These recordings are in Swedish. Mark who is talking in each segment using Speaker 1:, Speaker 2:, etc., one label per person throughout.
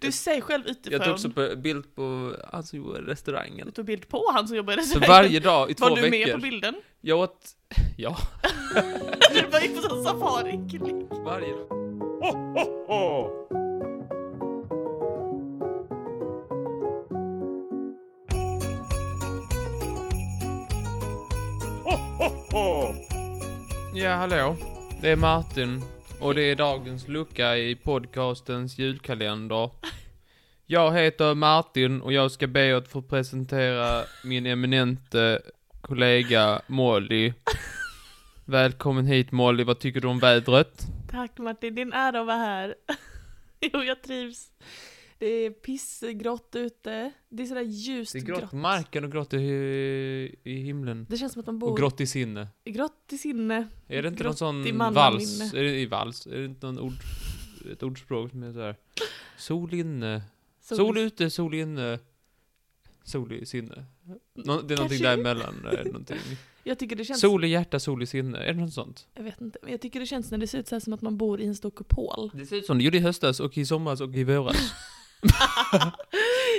Speaker 1: Du säger själv utifrån.
Speaker 2: Jag tog också på bild på han som gjorde restaurangen.
Speaker 1: Du tog bild på han som jobbar i
Speaker 2: Så
Speaker 1: restaurangen.
Speaker 2: varje dag i två
Speaker 1: Var du med på
Speaker 2: veckor.
Speaker 1: bilden?
Speaker 2: Jag åt, ja,
Speaker 1: Du bara gick på sån safari
Speaker 2: varje dag. Ja, hallå. Det är Martin och det är dagens lucka i podcastens julkalender. Jag heter Martin och jag ska be att få presentera min eminente kollega Molly. Välkommen hit Molly, vad tycker du om vädret?
Speaker 1: Tack Martin, din ära att vara här. jo, jag trivs. Det är pissgrått ute. Det är sådär ljust
Speaker 2: Det är grått på marken och grått i, i himlen.
Speaker 1: Det känns som att de bor
Speaker 2: Och grått i sinne.
Speaker 1: grått i sinne.
Speaker 2: Är det inte
Speaker 1: Grått
Speaker 2: någon
Speaker 1: i
Speaker 2: sån
Speaker 1: mannaminne.
Speaker 2: vals? Är det, I vals? Är det inte någon ord, ett ordspråk som är såhär? Sol inne, sol, ute, sol inne, sol i sinne. Nå, det är någonting
Speaker 1: Kanske.
Speaker 2: däremellan. eh, någonting.
Speaker 1: Jag tycker det känns...
Speaker 2: Sol i hjärta, sol i sinne. Är det något sånt?
Speaker 1: Jag vet inte, men jag tycker det känns när det ser ut så här som att man bor i en stor kupol.
Speaker 2: Det ser ut som det gjorde i höstas och i somras och i våras.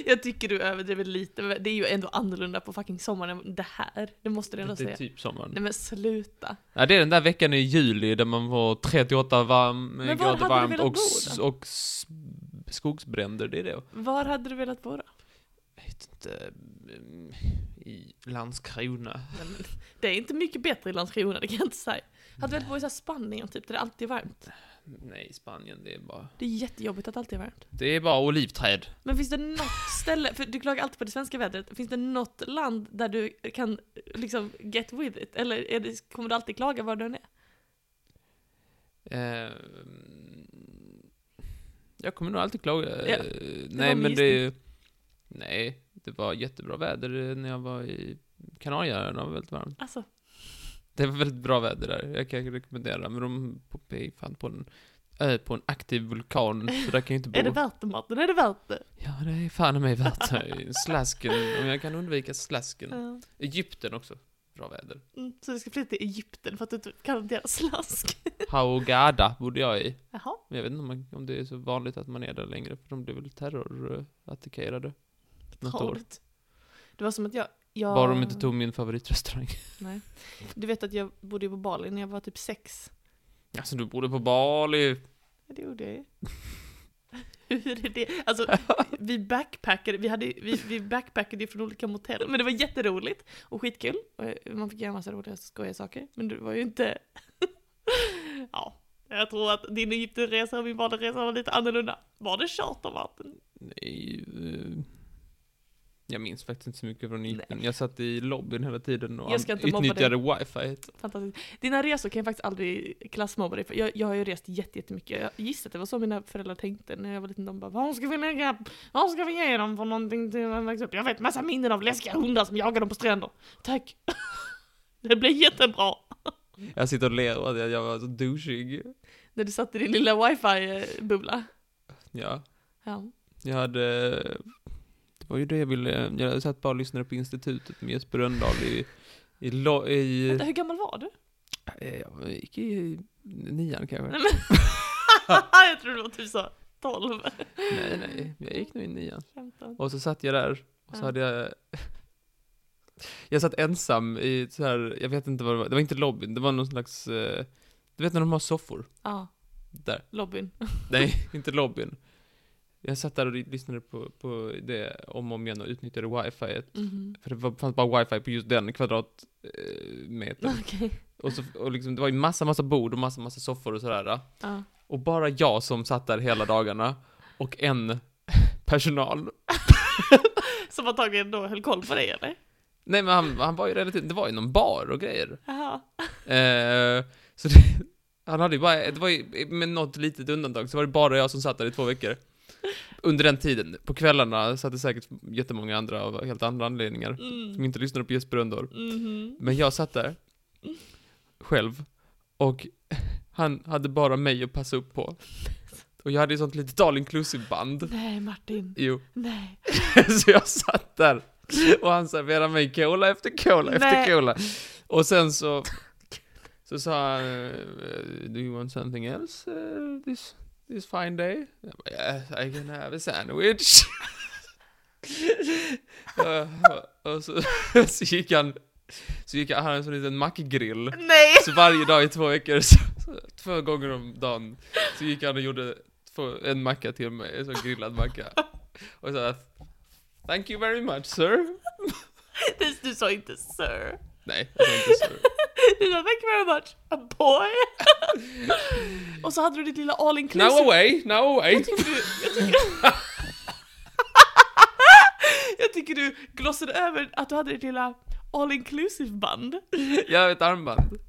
Speaker 1: jag tycker du överdriver lite, men det är ju ändå annorlunda på fucking sommaren än det här. Det måste du ändå
Speaker 2: det är
Speaker 1: säga.
Speaker 2: typ sommaren.
Speaker 1: Nej men sluta.
Speaker 2: Ja, det är den där veckan i juli där man var 38 varm,
Speaker 1: Men var hade
Speaker 2: grader
Speaker 1: du
Speaker 2: varmt
Speaker 1: velat
Speaker 2: och,
Speaker 1: bo
Speaker 2: s-
Speaker 1: då?
Speaker 2: och s- skogsbränder, det är det.
Speaker 1: Var hade du velat bo då?
Speaker 2: Jag vet inte, mm, i Landskrona.
Speaker 1: Nej, men Det är inte mycket bättre i Landskrona, det kan jag inte säga. Hade velat bo i så här Spanien typ, där det alltid är varmt.
Speaker 2: Nej, Spanien, det är bara...
Speaker 1: Det är jättejobbigt att det alltid är varmt.
Speaker 2: Det är bara olivträd.
Speaker 1: Men finns det något ställe, för du klagar alltid på det svenska vädret, finns det något land där du kan liksom get with it? Eller är det, kommer du alltid klaga var du än är?
Speaker 2: Eh, jag kommer nog alltid klaga.
Speaker 1: Ja,
Speaker 2: Eh, nej,
Speaker 1: min
Speaker 2: men det... Nej, det var jättebra väder eh, när jag var i Kanarieöarna. Det var väldigt varmt.
Speaker 1: Alltså,
Speaker 2: Det var väldigt bra väder där. Jag kan rekommendera, men de är fan på en ö på en aktiv vulkan, så där kan jag inte bo.
Speaker 1: är det värt det Martin? Är det värt det?
Speaker 2: Ja, det är fan mig värt det. Slasken, om jag kan undvika slasken.
Speaker 1: Ja.
Speaker 2: Egypten också. Bra väder.
Speaker 1: Mm, så du ska flytta till Egypten för att du inte kan deras slask?
Speaker 2: Haugada bodde jag i.
Speaker 1: Jaha,
Speaker 2: Men jag vet inte om, man, om det är så vanligt att man är där längre, för de blev väl terrorattackerade. Något år.
Speaker 1: trevligt. Det var som att jag... jag...
Speaker 2: Bara de inte tog min favoritrestaurang.
Speaker 1: Nej. Du vet att jag bodde ju på Bali när jag var typ sex.
Speaker 2: Alltså du bodde på Bali.
Speaker 1: Ja, det gjorde jag ju. Hur är det? Alltså, vi backpackade, vi, hade, vi, vi backpackade ju från olika motell, men det var jätteroligt och skitkul. Och eh, Man fick göra massa roliga skojiga saker, men det var ju inte... ja, jag tror att din Egyptenresa och min Baliresa var lite annorlunda. Var det chartervatten?
Speaker 2: Nej. eh, Jag minns faktiskt inte så mycket från Egypten.
Speaker 1: Nej.
Speaker 2: Jag satt i lobbyn hela tiden och
Speaker 1: Jag ska
Speaker 2: an-
Speaker 1: inte mobba dig.
Speaker 2: utnyttjade wifi.
Speaker 1: Fantastiskt. Dina resor kan jag faktiskt aldrig klassmobba dig för. Jag, jag har ju rest jätte- jättemycket. Jag gissar att det var så mina föräldrar tänkte när jag var liten. De bara, vad ska vi lägga, vad ska vi ge dem för någonting till en växt upp? Jag vet massa minnen av läskiga hundar som jagar dem på stränder. Tack! Det blev jättebra!
Speaker 2: Jag sitter och ler och att jag- jag var så douchig.
Speaker 1: När du satt i din lilla wifi-bubbla.
Speaker 2: Ja.
Speaker 1: Ja.
Speaker 2: Jag hade... Det var ju det jag ville... Jag satt bara och lyssnade på institutet med Jesper Rönndahl i... I, lo, i
Speaker 1: Vänta, hur gammal var du?
Speaker 2: Eh, Jag gick i nian kanske.
Speaker 1: Nej,
Speaker 2: Nej,
Speaker 1: men... jag tror du var typ så 12,
Speaker 2: nej, jag gick nog i nian.
Speaker 1: 15.
Speaker 2: Och så satt jag där, och så
Speaker 1: Ja.
Speaker 2: hade jag... Jag satt ensam i så här, jag vet inte vad det var, det var inte lobbyn, det var någon slags... eh, Du vet när de har soffor?
Speaker 1: Ja,
Speaker 2: Där.
Speaker 1: lobbyn.
Speaker 2: Nej, inte lobbyn. Jag satt där och lyssnade på, på det om och om igen och utnyttjade wifi.
Speaker 1: Mhm.
Speaker 2: För det var- fanns bara wifi på just den kvadratmetern.
Speaker 1: Okej.
Speaker 2: Och, så, och liksom, det var ju massa, massa bord och massa, massa soffor och sådär.
Speaker 1: Ja.
Speaker 2: Och bara jag som satt där hela dagarna och en personal.
Speaker 1: Som antagligen då höll koll på dig eller?
Speaker 2: Nej men han, han var ju relativt, det var ju någon bar och grejer.
Speaker 1: Jaha.
Speaker 2: Eh, så det, han hade ju bara, det var ju med något litet undantag så var det bara jag som satt där i två veckor. Under den tiden, på kvällarna satt det säkert jättemånga andra av helt andra anledningar. Som
Speaker 1: Mm.
Speaker 2: inte lyssnade på Jesper Rönndahl.
Speaker 1: Mhm.
Speaker 2: Men jag satt där, själv, och han hade bara mig att passa upp på. Och jag hade ju sånt litet all inclusive band.
Speaker 1: Nej Martin,
Speaker 2: Jo.
Speaker 1: nej.
Speaker 2: Så jag satt där och han serverade mig cola efter cola
Speaker 1: Nej.
Speaker 2: efter cola. Och sen så, så sa han, eh, do you want something else? eh, this? This fine day? Jag bara, yes, I can have a sandwich. Eh, och, och så, så gick han, så gick han, han hade en sån liten mackgrill.
Speaker 1: Nej!
Speaker 2: Så varje dag i två veckor, så, så, två gånger om dagen, så gick han och gjorde två, en macka till mig, en sån grillad macka. Och sa att Thank you very much sir.
Speaker 1: Det- Du sa inte sir.
Speaker 2: Nej, jag sa inte sir.
Speaker 1: Du sa thank you very much, a boy. Och så hade du ditt lilla all
Speaker 2: Now
Speaker 1: inclusive.
Speaker 2: away, now away.
Speaker 1: Jag tycker du... Jag tycker, jag tycker du glossade över att du hade ditt lilla all inclusive band.
Speaker 2: Jag har ett armband.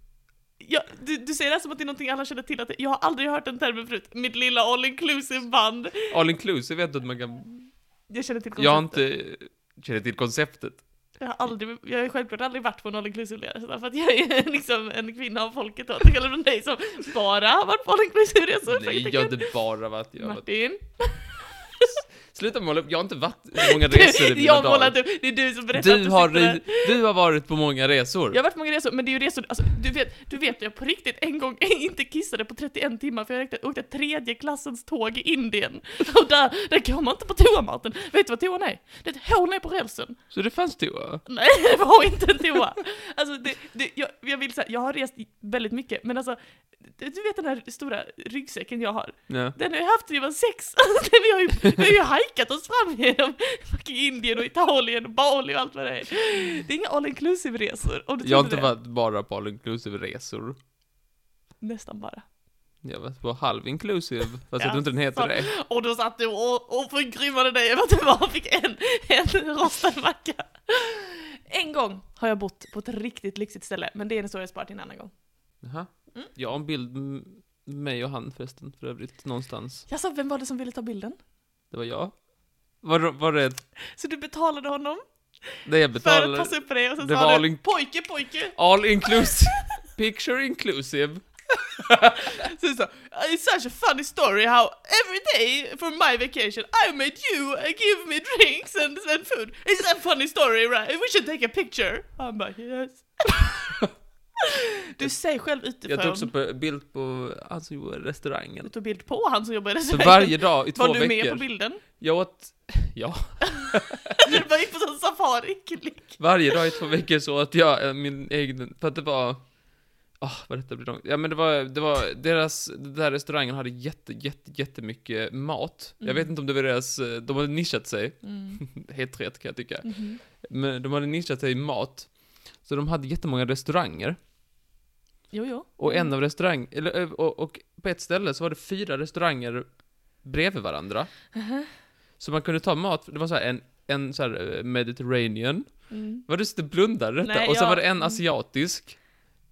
Speaker 1: Ja, du, du säger det här som att det är någonting alla känner till, att det- jag har aldrig hört den termen förut. Mitt lilla all inclusive band.
Speaker 2: All inclusive vet du att man kan...
Speaker 1: Jag känner till konceptet.
Speaker 2: Jag har inte... Känner till konceptet.
Speaker 1: Jag har aldrig, jag har självklart aldrig varit på en all inclusive resa för att jag är liksom en kvinna av folket och till skillnad från liksom dig som bara har varit på all inclusive resor.
Speaker 2: Nej, jag har inte bara varit... Jag har varit.
Speaker 1: Martin,
Speaker 2: Sluta måla upp, jag har inte varit på många resor i
Speaker 1: du,
Speaker 2: mina
Speaker 1: jag målar
Speaker 2: dagar.
Speaker 1: du, det är du som berättar att
Speaker 2: Du har,
Speaker 1: sitter där.
Speaker 2: ri- du har varit på många resor.
Speaker 1: Jag har varit på många resor, men det är ju resor, alltså, du vet, du vet jag på riktigt en gång inte kissade på 31 timmar för jag åkte, åkte tredje klassens tåg i Indien. Och där, där går man inte på toa Martin. Vet du vad toan är? Det är ett hål ner på rälsen.
Speaker 2: Så det fanns toa?
Speaker 1: Nej, det var inte en toa. Alltså, det, det, jag, jag vill säga, jag har rest väldigt mycket, men alltså, du du vet den här stora ryggsäcken jag har?
Speaker 2: Ja.
Speaker 1: Den har jag haft sedan jag var sex. Alltså, den, vi, har ju, vi har ju hajkat oss fram genom fucking Indien och Italien och Bali och allt vad det är. Det är inga all inclusive-resor, om du
Speaker 2: Jag har
Speaker 1: trodde
Speaker 2: inte
Speaker 1: det.
Speaker 2: varit bara på all inclusive resor.
Speaker 1: Nästan bara.
Speaker 2: Jag har varit på halv inclusive, fast jag
Speaker 1: Ja,
Speaker 2: tror inte den heter
Speaker 1: så-
Speaker 2: det.
Speaker 1: Och då satt du och, och förgrymmade dig över att du bara fick en, en rostad macka. En gång har jag bott på ett riktigt lyxigt ställe, men det är en historia jag sparar till en annan gång.
Speaker 2: Jaha.
Speaker 1: Mm.
Speaker 2: Jag har en bild med mig och han förresten, för övrigt, någonstans.
Speaker 1: Jag sa, vem var det som ville ta bilden?
Speaker 2: Det var jag. Var, var det...
Speaker 1: Så du betalade honom
Speaker 2: Det jag
Speaker 1: för att
Speaker 2: betalade?
Speaker 1: passa upp för dig och sen
Speaker 2: Det
Speaker 1: sa
Speaker 2: var
Speaker 1: du
Speaker 2: all in-
Speaker 1: pojke, pojke.
Speaker 2: All inclusive. Picture inclusive.
Speaker 1: Sen sa it's such a funny story how every day from my vacation I made you uh, give me drinks and, and food. It's a funny story right? We should take a picture. Han bara yes. du säger själv utifrån.
Speaker 2: Jag tog också på bild på han som gjorde restaurangen.
Speaker 1: Du tog bild på han som jobbade i
Speaker 2: Så
Speaker 1: restaurangen.
Speaker 2: varje dag i två
Speaker 1: Var du med på
Speaker 2: veckor.
Speaker 1: bilden?
Speaker 2: jag åt, ja,
Speaker 1: Du bara gick på sån safari-klick.
Speaker 2: varje dag i två veckor så åt jag eh, min egen, för att det var, ah, vad detta blir långt. Ja men det var, det var, deras, den där restaurangen hade jätte, jätte, jättemycket mat. Jag
Speaker 1: Mm.
Speaker 2: vet inte om det var deras, eh, de hade nischat sig, helt rätt kan jag tycka.
Speaker 1: mhm.
Speaker 2: Men de hade nischat sig i mat. Så de hade jättemånga restauranger.
Speaker 1: Jo, jo.
Speaker 2: Och en av restaurang, eller, ö- och, och på ett ställe så var det fyra restauranger bredvid varandra. Så man kunde ta mat, det var så här en, en så här eh, Mediterranean.
Speaker 1: Mm.
Speaker 2: Var du sitter och blundar detta?
Speaker 1: Nej,
Speaker 2: och sen
Speaker 1: jag-
Speaker 2: var det en
Speaker 1: mm.
Speaker 2: asiatisk.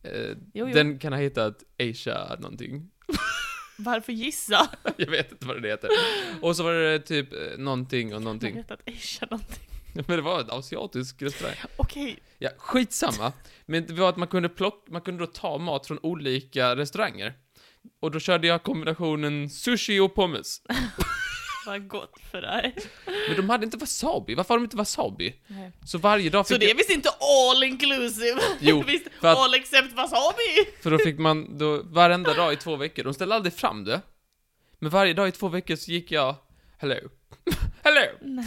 Speaker 2: Eh,
Speaker 1: Jo, jo.
Speaker 2: Den kan ha hetat Asia någonting.
Speaker 1: Varför gissa?
Speaker 2: Jag vet inte vad det heter. Och så var det typ eh, någonting och
Speaker 1: Jag
Speaker 2: någonting.
Speaker 1: vet att Asia någonting.
Speaker 2: Men det var en asiatisk restaurang.
Speaker 1: Okej.
Speaker 2: Ja, skitsamma. Men det var att man kunde plocka, man kunde då ta mat från olika restauranger. Och då körde jag kombinationen sushi och pommes.
Speaker 1: Vad gott för dig.
Speaker 2: Men de hade inte wasabi, varför har de inte wasabi? Så varje dag
Speaker 1: Så
Speaker 2: fick
Speaker 1: det är visst inte all inclusive?
Speaker 2: Jo,
Speaker 1: visst,
Speaker 2: för att-
Speaker 1: all except wasabi?
Speaker 2: jag, för då fick man då, varenda dag i två veckor, de ställde aldrig fram det. Men varje dag i två veckor så gick jag, hello, hello!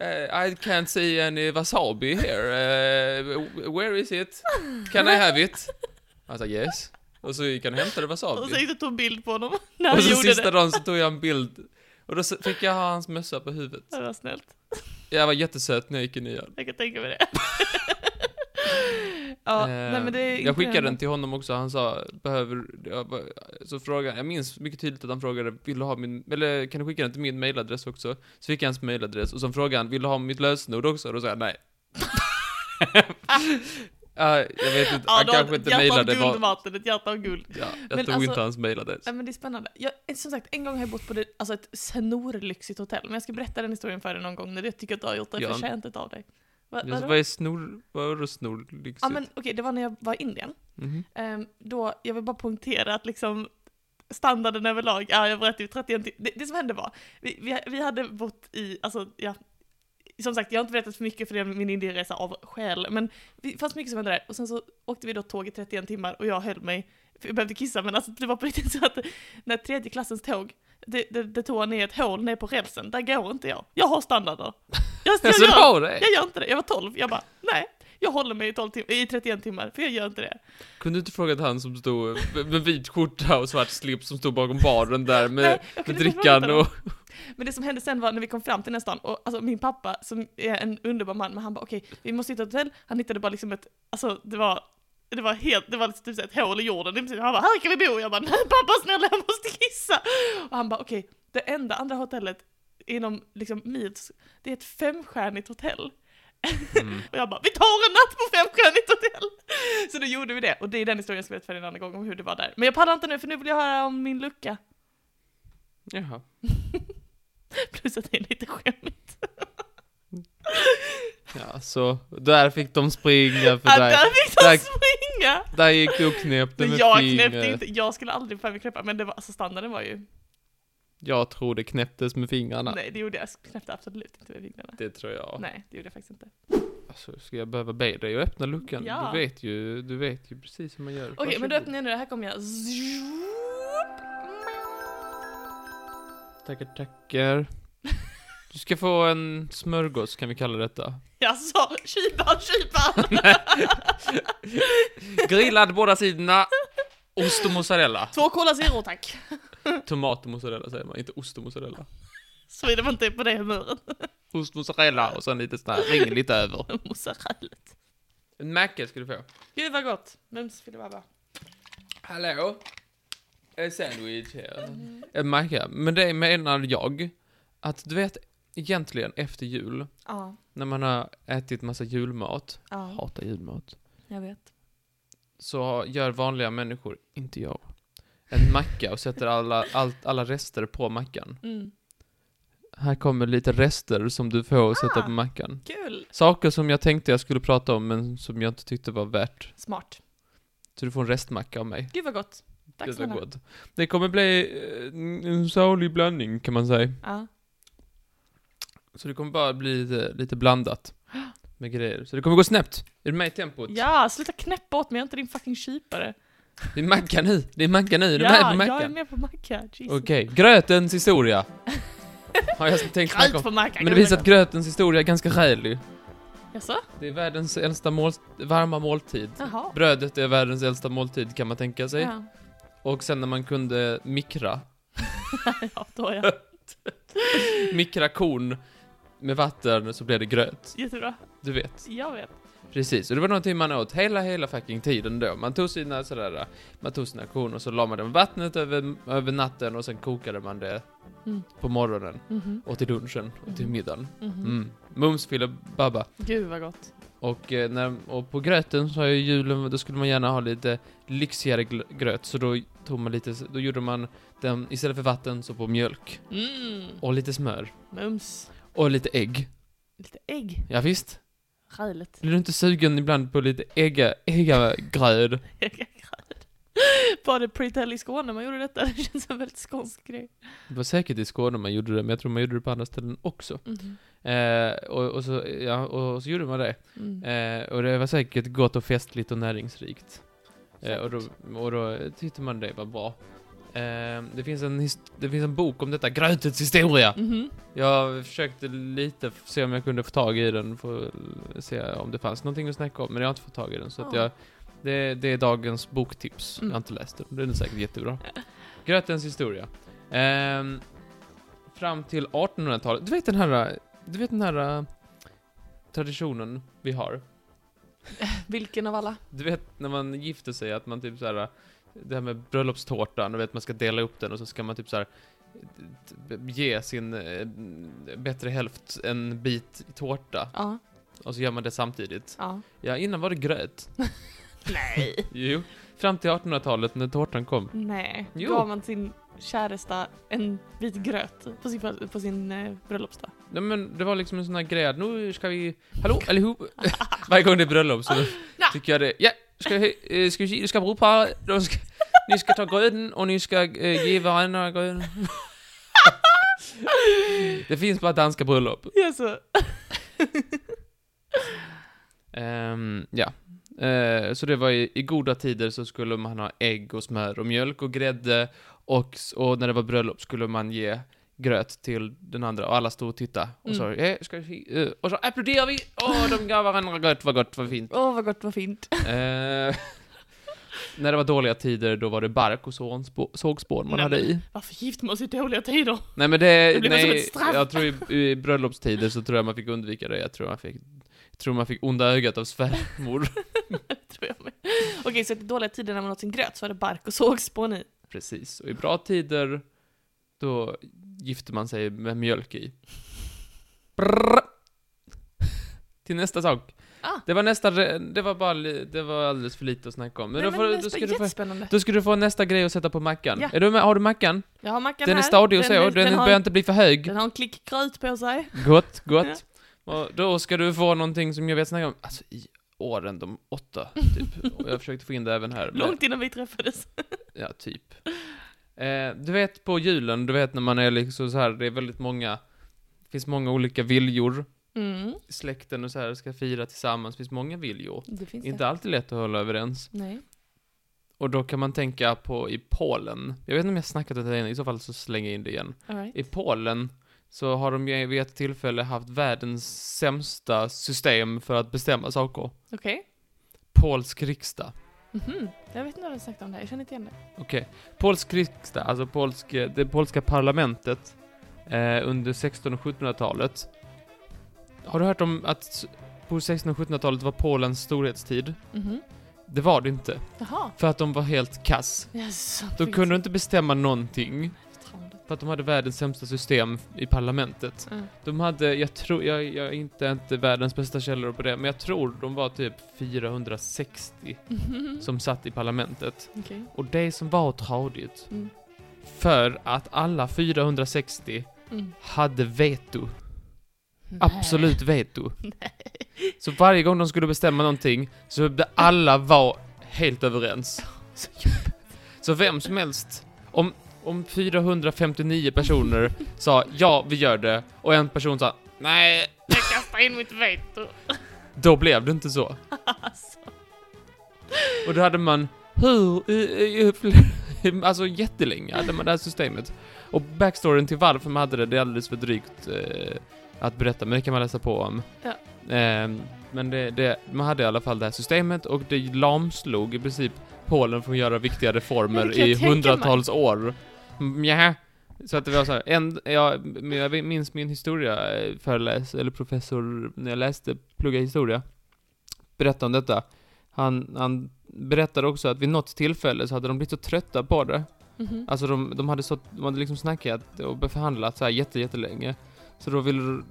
Speaker 2: Eh, I can't see any wasabi here, Eh, where is it? Can I have it? Han sa yes. Och så gick han och hämtade wasabi.
Speaker 1: Och så gick du och tog bild på honom när han
Speaker 2: Och så
Speaker 1: gjorde
Speaker 2: sista
Speaker 1: det.
Speaker 2: dagen så tog jag en bild och då så- fick jag ha hans mössa på huvudet.
Speaker 1: Det var snällt.
Speaker 2: Jag var jättesöt när jag gick i nian.
Speaker 1: Jag kan tänka mig det. ja,
Speaker 2: Eh,
Speaker 1: nej, men det är
Speaker 2: jag skickade den
Speaker 1: imponerande.
Speaker 2: till honom också, han sa behöver, jag bara- så frågade jag minns mycket tydligt att han frågade vill du ha min, eller kan du skicka den till min mailadress också? Så fick jag hans mailadress och så frågade han vill du ha mitt lösenord också? Och då sa jag nej. Ja, jag vet inte,
Speaker 1: Ja,
Speaker 2: han
Speaker 1: du har
Speaker 2: kanske
Speaker 1: ett
Speaker 2: inte
Speaker 1: hjärta av
Speaker 2: mailade
Speaker 1: guld,
Speaker 2: vad,
Speaker 1: Martin. Ett hjärta av guld.
Speaker 2: ja, jag
Speaker 1: Men
Speaker 2: tog inte
Speaker 1: alltså-
Speaker 2: hans mailadress.
Speaker 1: Nej men det är spännande. Jag, som sagt, en gång har jag bott på det, alltså ett snorlyxigt hotell, men jag ska berätta den historien för dig någon gång när jag tycker att du har gjort dig
Speaker 2: Ja.
Speaker 1: förtjänt av dig. Va,
Speaker 2: Alltså,
Speaker 1: vadå?
Speaker 2: vad är snor, vad är det snor
Speaker 1: ja men okej, det var när jag var i Indien.
Speaker 2: Mhm.
Speaker 1: Ehm, då, jag vill bara poängtera att liksom standarden överlag, ja jag berättade ju 31 tim- det, det som hände var, vi, vi, vi hade bott i, alltså ja, som sagt jag har inte berättat för mycket för det är min Indienresa av skäl, men det fanns mycket som hände där. Och sen så åkte vi då tåg i 31 timmar och jag höll mig för jag behövde kissa, men alltså det var på riktigt så att när tredje klassens tåg, det, det, det tog ner ett hål ner på rälsen, där går inte jag. Jag har standarder. Jag, jag,
Speaker 2: Alltså du
Speaker 1: gör,
Speaker 2: har det?
Speaker 1: jag gör inte det. Jag var 12, jag bara, nej, jag håller mig i, 12 tim- i 31 timmar, för jag gör inte det.
Speaker 2: Kunde du inte frågat han som stod med vit skjorta och svart slips som stod bakom baren där
Speaker 1: Nej,
Speaker 2: med,
Speaker 1: jag
Speaker 2: med
Speaker 1: kunde inte fråga
Speaker 2: drickan och...
Speaker 1: Men det som hände sen var när vi kom fram till den här stan, och alltså min pappa som är en underbar man, men han bara okej, vi måste hitta ett hotell, han hittade bara liksom ett, alltså det var det var helt, det var liksom typ så här ett hål i jorden, Det är precis- han bara här kan vi bo, och jag bara nej pappa snälla jag måste kissa! Och han bara okej, det enda andra hotellet inom liksom mils, det är ett femstjärnigt hotell.
Speaker 2: Mm.
Speaker 1: Och jag bara, vi tar en natt på femstjärnigt hotell! Så då gjorde vi det, och det är den historien jag ska berätta för dig en annan gång om hur det var där. Men jag pallar inte nu, för nu vill jag höra om min lucka.
Speaker 2: Jaha.
Speaker 1: Plus att det är lite skämmigt.
Speaker 2: Ja, så där fick de springa för
Speaker 1: Ah,
Speaker 2: dig.
Speaker 1: där fick de
Speaker 2: där-
Speaker 1: springa!
Speaker 2: Där gick du och knäppte
Speaker 1: Men
Speaker 2: med
Speaker 1: jag
Speaker 2: fingret.
Speaker 1: knäppte inte, jag skulle aldrig få mig knäppa, men det var, alltså standarden var ju,
Speaker 2: Jag tror det knäpptes med fingrarna.
Speaker 1: nej det gjorde jag, jag knäppte absolut inte med fingrarna.
Speaker 2: Det tror jag.
Speaker 1: Nej, det gjorde jag faktiskt inte.
Speaker 2: Alltså, ska jag behöva be dig att öppna luckan?
Speaker 1: Ja.
Speaker 2: Du, vet ju, du vet ju precis hur man gör.
Speaker 1: Okej, men då
Speaker 2: Varsågod.
Speaker 1: öppnar jag nu, här kommer jag.
Speaker 2: Tackar, tackar. Du ska få en smörgås kan vi kalla detta.
Speaker 1: Jaså, kyparen, kyparen!
Speaker 2: Grillad båda sidorna. Ost och mozzarella.
Speaker 1: Två Cola Zero tack!
Speaker 2: Tomat och mozzarella säger man, inte ost och mozzarella.
Speaker 1: Såvida man inte är på det humöret.
Speaker 2: Ost, mozzarella och sen lite sån här ringligt över.
Speaker 1: Mozzarellet.
Speaker 2: En macka ska du få.
Speaker 1: Gud vad gott! Mums filibabba.
Speaker 2: Hallå? En sandwich här.
Speaker 1: Mm.
Speaker 2: En macka. Men det menar jag att du vet egentligen efter jul
Speaker 1: Ja,
Speaker 2: när man har ätit massa julmat,
Speaker 1: ja,
Speaker 2: hatar julmat,
Speaker 1: jag vet.
Speaker 2: så gör vanliga människor, inte jag, en macka och sätter alla, allt, alla rester på mackan.
Speaker 1: Mm.
Speaker 2: Här kommer lite rester som du får sätta
Speaker 1: Ah.
Speaker 2: på mackan.
Speaker 1: Kul!
Speaker 2: Saker som jag tänkte jag skulle prata om men som jag inte tyckte var värt.
Speaker 1: Smart.
Speaker 2: Så du får en restmacka av mig.
Speaker 1: Gud vad gott! Tack
Speaker 2: Det,
Speaker 1: snälla.
Speaker 2: gott. det kommer bli eh, en- en salig blandning kan man säga.
Speaker 1: Ja.
Speaker 2: Så det kommer bara bli lite, lite blandat med grejer. Så det kommer gå snabbt. Är du med i tempot?
Speaker 1: ja, sluta knäppa åt mig, jag är inte din fucking kypare.
Speaker 2: Det är macka nu. Det är macka nu. Är du med
Speaker 1: Ja,
Speaker 2: på
Speaker 1: jag är
Speaker 2: mackan?
Speaker 1: med på macka. Jesus.
Speaker 2: Okej, grötens historia. Har jag tänkt snacka
Speaker 1: Gröt
Speaker 2: om.
Speaker 1: på mackan.
Speaker 2: Men det visar att grötens historia är ganska skälig.
Speaker 1: Jaså?
Speaker 2: Det är världens äldsta mål, varma måltid.
Speaker 1: Jaha.
Speaker 2: Brödet är världens äldsta måltid kan man tänka sig.
Speaker 1: Ja.
Speaker 2: Och sen när man kunde mikra,
Speaker 1: ja, då ja.
Speaker 2: mikra korn med vatten så blev det gröt.
Speaker 1: Jättebra.
Speaker 2: Du vet.
Speaker 1: Jag vet.
Speaker 2: Precis, och det var någonting man åt hela, hela fucking tiden då. Man tog sina sådär, man tog sina korn och så la man dem i vattnet över, över natten och sen kokade man det
Speaker 1: Mm.
Speaker 2: på morgonen
Speaker 1: Mhm.
Speaker 2: och till lunchen och till
Speaker 1: Mhm.
Speaker 2: middagen.
Speaker 1: Mhm.
Speaker 2: Mm. Mums, Filip, Babba.
Speaker 1: Gud vad gott.
Speaker 2: Och, eh, när, och på gröten så har ju julen, då skulle man gärna ha lite lyxigare gl- gröt, så då tog man lite, då gjorde man den istället för vatten så på mjölk
Speaker 1: Mm.
Speaker 2: och lite smör
Speaker 1: Mums.
Speaker 2: och lite ägg.
Speaker 1: Lite ägg.
Speaker 2: Ja, visst?
Speaker 1: Rälet.
Speaker 2: Blir du inte sugen ibland på lite ägga, äggagröd?
Speaker 1: Var det Pretell i Skåne man gjorde detta? Det känns som en väldigt skånsk grej.
Speaker 2: Det var säkert i Skåne man gjorde det, men jag tror man gjorde det på andra ställen också.
Speaker 1: Mhm.
Speaker 2: Eh, och, och, så, ja, och, och så gjorde man det.
Speaker 1: Mm.
Speaker 2: Eh, och det var säkert gott och festligt och näringsrikt. Eh,
Speaker 1: Säkert.
Speaker 2: och, då, och då tyckte man det var bra. Eh, det, finns en his- det finns en bok om detta, Grötets historia!
Speaker 1: Mhm.
Speaker 2: Jag försökte lite f- se om jag kunde få tag i den, för att se om det fanns någonting att snacka om, men jag har inte fått tag i den. Så att
Speaker 1: Ja.
Speaker 2: jag, det, det är dagens boktips.
Speaker 1: Mm.
Speaker 2: Jag har inte läst den, den är säkert jättebra. Grötens historia. Ehm, fram till 1800-talet. Du vet den här, du vet den här eh, traditionen vi har?
Speaker 1: Vilken av alla?
Speaker 2: Du vet när man gifter sig att man typ så här det här med bröllopstårtan, du vet man ska dela upp den och så ska man typ så här eh, ge sin eh, bättre hälft en bit tårta
Speaker 1: Ja.
Speaker 2: och så gör man det samtidigt.
Speaker 1: ja.
Speaker 2: Ja, innan var det gröt.
Speaker 1: Nej.
Speaker 2: Jo, fram till 1800-talet när tårtan kom.
Speaker 1: Nej.
Speaker 2: Jo.
Speaker 1: Gav man sin käresta en bit gröt på sin, på sin eh, bröllopsdag?
Speaker 2: Nej men det var liksom en sån här grej att nu ska vi, hallå allihop! Varje gång det är bröllop så tycker jag det, ja! Ska vi, eh, ska vi, se, det ska brudpar, de ska, ni ska ta gröten och ni ska eh, ge varandra gröten. det finns bara danska bröllop.
Speaker 1: Jaså?
Speaker 2: Ehm, ja, Eh, så det var i, i goda tider så skulle man ha ägg och smör och mjölk och grädde och, s- och när det var bröllop skulle man ge gröt till den andra och alla stod och tittade och
Speaker 1: Mm.
Speaker 2: sa eh, ska vi, eh, och så applåderar vi, åh de gav varandra gröt, vad gott, vad fint.
Speaker 1: Åh, vad gott, vad fint.
Speaker 2: Eh, när det var dåliga tider då var det bark och sånspå- sågspån man
Speaker 1: Nej,
Speaker 2: hade i.
Speaker 1: Varför gifter man sig i dåliga tider?
Speaker 2: Nej men det,
Speaker 1: Det blev som ett
Speaker 2: nej,
Speaker 1: straff.
Speaker 2: jag tror i, i bröllopstider så tror jag man fick undvika det, jag tror man fick, jag tror man fick onda ögat av svärmor.
Speaker 1: Tror jag med. Okej, så i dåliga tider när man åt sin gröt så var det bark och sågspån i.
Speaker 2: Precis, och i bra tider då gifter man sig med mjölk i. Brrr. Till nästa sak.
Speaker 1: Ah.
Speaker 2: Det var nästa, re- det var bara, li- det var alldeles för lite att snacka om. Men,
Speaker 1: Nej,
Speaker 2: då, får,
Speaker 1: men
Speaker 2: då,
Speaker 1: nästa,
Speaker 2: ska du få,
Speaker 1: jättespännande.
Speaker 2: då ska du få nästa grej att sätta på mackan.
Speaker 1: Ja.
Speaker 2: Är du med? Har du mackan?
Speaker 1: Jag har mackan
Speaker 2: Den
Speaker 1: här.
Speaker 2: är stadig och så,
Speaker 1: den,
Speaker 2: den, den
Speaker 1: har,
Speaker 2: börjar inte bli för hög.
Speaker 1: den har en klick gröt på sig.
Speaker 2: Gott, gott. Och då ska du få någonting som jag vet snacka om, alltså i åren, de åtta, typ. Och jag försökte få in det även här. men-
Speaker 1: Långt innan vi träffades.
Speaker 2: Ja, typ. Eh, du vet på julen, du vet när man är liksom så här, det är väldigt många, det finns många olika viljor.
Speaker 1: Mm,
Speaker 2: Släkten och så här ska fira tillsammans, det finns många viljor.
Speaker 1: det finns
Speaker 2: Inte alltid lätt att hålla överens.
Speaker 1: det. Nej.
Speaker 2: Och då kan man tänka på i Polen, jag vet inte om jag snackat om det här innan, i så fall så slänger jag in det igen.
Speaker 1: All right.
Speaker 2: I Polen så har de ju vid ett tillfälle haft världens sämsta system för att bestämma saker.
Speaker 1: Okej.
Speaker 2: Polsk riksdag.
Speaker 1: Mhm. Jag vet inte vad du snackade om det här, jag känner inte igen det.
Speaker 2: Okej. Polsk riksdag, alltså polsk, det polska parlamentet eh, under 1600 och 1700-talet. Har du hört om att s- på 1600 och 1700-talet var Polens storhetstid?
Speaker 1: Mhm.
Speaker 2: Det var det inte,
Speaker 1: Jaha.
Speaker 2: för att de var helt kass.
Speaker 1: Jaså,
Speaker 2: De
Speaker 1: finns
Speaker 2: kunde inte bestämma någonting,
Speaker 1: det förtroende?
Speaker 2: för att de hade världens sämsta system i parlamentet.
Speaker 1: Mm.
Speaker 2: De hade, jag tror, jag, jag är inte, inte världens bästa källor på det, men jag tror de var typ 460
Speaker 1: Mhm.
Speaker 2: som satt i parlamentet.
Speaker 1: Okej.
Speaker 2: Och det som var tradigt
Speaker 1: Mm.
Speaker 2: För att alla 460
Speaker 1: Mm.
Speaker 2: hade veto.
Speaker 1: Nej.
Speaker 2: Absolut veto. Så varje gång de skulle bestämma någonting så behövde alla vara helt överens. Så vem som helst, om, om 459 personer sa ja, vi gör det och en person sa nej,
Speaker 1: Jag kastar in mitt veto.
Speaker 2: då blev det inte så.
Speaker 1: Alltså.
Speaker 2: Och då hade man hur, i, i, i, fl- alltså jättelänge hade man det här systemet. Och backstoryn till varför man hade det, det är alldeles för drygt eh, att berätta, men det kan man läsa på om.
Speaker 1: Ja.
Speaker 2: Ehm, men det, det, man hade i alla fall det här systemet och det lamslog i princip Polen från att göra viktiga
Speaker 1: Ja, det
Speaker 2: reformer
Speaker 1: kan jag
Speaker 2: i
Speaker 1: tänka mig.
Speaker 2: hundratals år. Mm, Nja. Så att det var så här, en, jag, men jag minns min historia eh, föreläs, eller professor, när jag läste, pluggade historia, berättade om detta. Han, han berättade också att vid något tillfälle så hade de blivit så trötta på det.
Speaker 1: Mhm.
Speaker 2: Alltså de, de, hade, så, de hade liksom snackat och förhandlat så här jätte, jättelänge. Så då ville,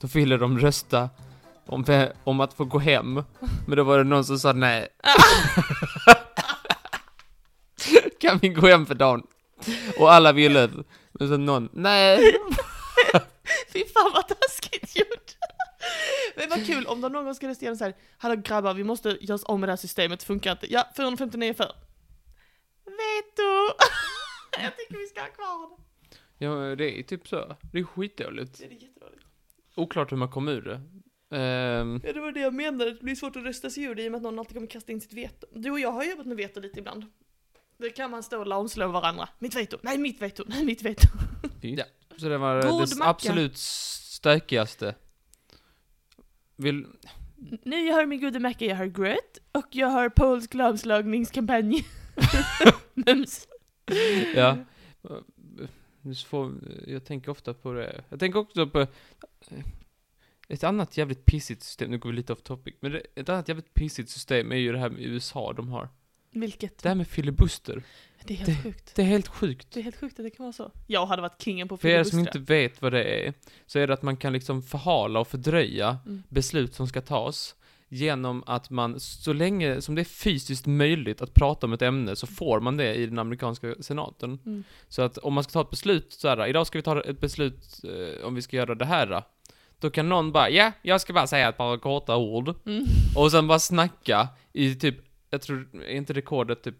Speaker 2: då ville de rösta om, ve- om att få gå hem. Men då var det någon som sa nej. kan vi gå hem för dagen? Och alla ville. Men så någon, nej.
Speaker 1: Fy fan vad taskigt gjort! Men vad kul om de någon gång ska rösta igenom så här. Hallå grabbar, vi måste göra oss om med det här systemet, funkar inte. Ja, 459 för. Veto! Jag tycker vi ska ha kvar det.
Speaker 2: Ja, det är typ så. Det är skitdåligt.
Speaker 1: Det är jättedåligt.
Speaker 2: Oklart hur man kom ur det. Ehm,
Speaker 1: Ja, det var det jag menade, det blir svårt att rösta sig ur det i och med att någon alltid kommer kasta in sitt veto. Du och jag har jobbat med veto lite ibland. Då kan man stå och lamslå varandra. Mitt veto, nej mitt veto, nej mitt veto.
Speaker 2: Ja, så det var
Speaker 1: God
Speaker 2: det
Speaker 1: macka.
Speaker 2: absolut stökigaste. Vill,
Speaker 1: Nu jag hör min gode macka, jag hör gröt och jag hör polsk lamslagningskampanj. Mums.
Speaker 2: ja. Nu så får, jag tänker ofta på det. Jag tänker också på ett annat jävligt pissigt system, nu går vi lite off topic, men det, ett annat jävligt pissigt system är ju det här med USA de har.
Speaker 1: Vilket?
Speaker 2: Det här med filibuster.
Speaker 1: Det är helt sjukt.
Speaker 2: Det är helt sjukt.
Speaker 1: Det är helt sjukt att det kan vara så. Jag hade varit kingen på
Speaker 2: För er som
Speaker 1: filibustra.
Speaker 2: inte vet vad det är, så är det att man kan liksom förhala och fördröja
Speaker 1: Mm.
Speaker 2: beslut som ska tas genom att man, så länge som det är fysiskt möjligt att prata om ett ämne, så får man det i den amerikanska senaten.
Speaker 1: Mm.
Speaker 2: Så att om man ska ta ett beslut så här, idag ska vi ta ett beslut eh, om vi ska göra det här. Då kan någon bara, ja, jag ska bara säga ett par korta ord.
Speaker 1: Mm.
Speaker 2: Och sen bara snacka i typ, jag tror, är inte rekordet typ,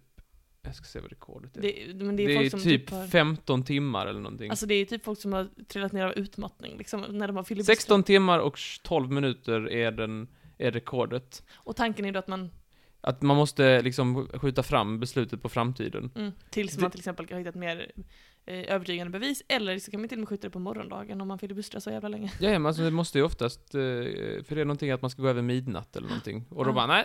Speaker 2: jag ska se vad rekordet är.
Speaker 1: Det, men
Speaker 2: Det
Speaker 1: det
Speaker 2: är,
Speaker 1: är, folk som
Speaker 2: typ
Speaker 1: typ har,
Speaker 2: 15 timmar eller någonting.
Speaker 1: Alltså det är typ folk som har trillat ner av utmattning liksom, när de har filibustrat.
Speaker 2: 16 timmar och 12 minuter är, den, är rekordet.
Speaker 1: Och tanken är då att man
Speaker 2: Att man måste liksom skjuta fram beslutet på framtiden.
Speaker 1: Mm. Tills
Speaker 2: Det-
Speaker 1: man till exempel har hittat mer eh, övertygande bevis, eller så kan man till och med skjuta det på morgondagen om man filibustrar så jävla länge.
Speaker 2: Ja, ja, men alltså det måste ju oftast, eh, för det är någonting att man ska gå över midnatt eller någonting. Och då
Speaker 1: Ja.
Speaker 2: bara, nej,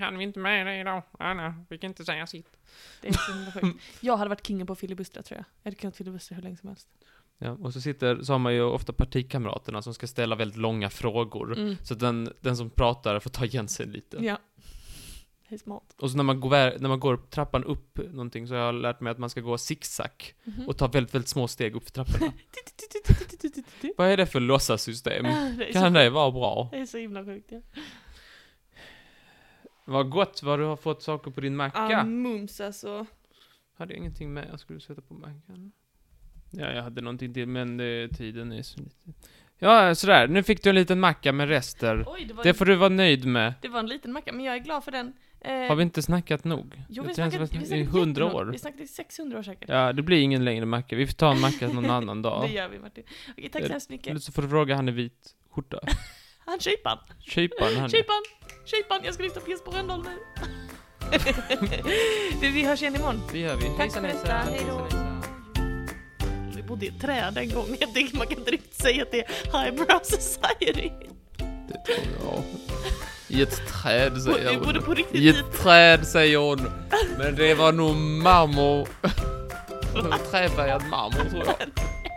Speaker 3: Han vill inte med dig idag. Anna fick inte säga sitt.
Speaker 1: Det är så himla sjukt. Jag hade varit kingen på att filibustra tror jag. Jag hade kunnat filibustra hur länge som helst.
Speaker 2: Ja, och så sitter, så har man ju ofta partikamraterna som ska ställa väldigt långa frågor.
Speaker 1: Mm.
Speaker 2: Så att den, den som pratar får ta igen sig lite.
Speaker 1: Ja. Det är smart.
Speaker 2: Och så när man, går, vä- när man går trappan upp någonting så har jag lärt mig att man ska gå zigzag
Speaker 1: Mhm.
Speaker 2: och ta väldigt, väldigt små steg upp för trapporna.
Speaker 1: Tut-tut-tut-tut-tut-tut-tut.
Speaker 2: Vad är det för låtsassystem?
Speaker 1: Ah, det är så
Speaker 2: Kan
Speaker 1: sjukt.
Speaker 2: det vara bra?
Speaker 1: Det är så himla sjukt ja.
Speaker 2: Vad gott vad du har fått saker på din
Speaker 1: Ah,
Speaker 2: macka.
Speaker 1: mums alltså.
Speaker 2: Hade jag ingenting med jag skulle sätta på mackan? Ja, jag hade någonting till men eh, tiden är så liten. Ja, sådär. Nu fick du en liten macka med rester.
Speaker 1: Oj, det var,
Speaker 2: Det får du vara nöjd med.
Speaker 1: det var en liten macka, men jag är glad för den. Eh,
Speaker 2: Har vi inte snackat nog?
Speaker 1: jo,
Speaker 2: Jag
Speaker 1: vi
Speaker 2: tror
Speaker 1: snackade, vi
Speaker 2: jag
Speaker 1: snackade
Speaker 2: I hundra
Speaker 1: jättelångt.
Speaker 2: år.
Speaker 1: Vi snackade i 600 år säkert.
Speaker 2: Ja, det blir ingen längre macka. Vi får ta en macka någon annan
Speaker 1: Det
Speaker 2: dag.
Speaker 1: gör vi Martin. Okej, tack
Speaker 2: Ja,
Speaker 1: så hemskt mycket.
Speaker 2: Eller så får du fråga han i vit skjorta.
Speaker 1: Han Shapan!
Speaker 2: Kyparen han.
Speaker 1: Shapan! Shapan! Jag ska lyssna på Jesper Rönndahl nu. du, vi hörs igen imorgon.
Speaker 2: Det gör vi.
Speaker 1: Tack för detta, hej då.
Speaker 2: hejsan.
Speaker 1: Vi bodde i ett träd en gång. Jag tycker man kan inte riktigt säga att det är highbrow society.
Speaker 2: Det tror jag. I ett träd säger
Speaker 1: Vi
Speaker 2: hon.
Speaker 1: bodde på riktigt
Speaker 2: I
Speaker 1: lite.
Speaker 2: ett träd säger hon. Men det var nog marmor. Träfärgad marmor tror jag.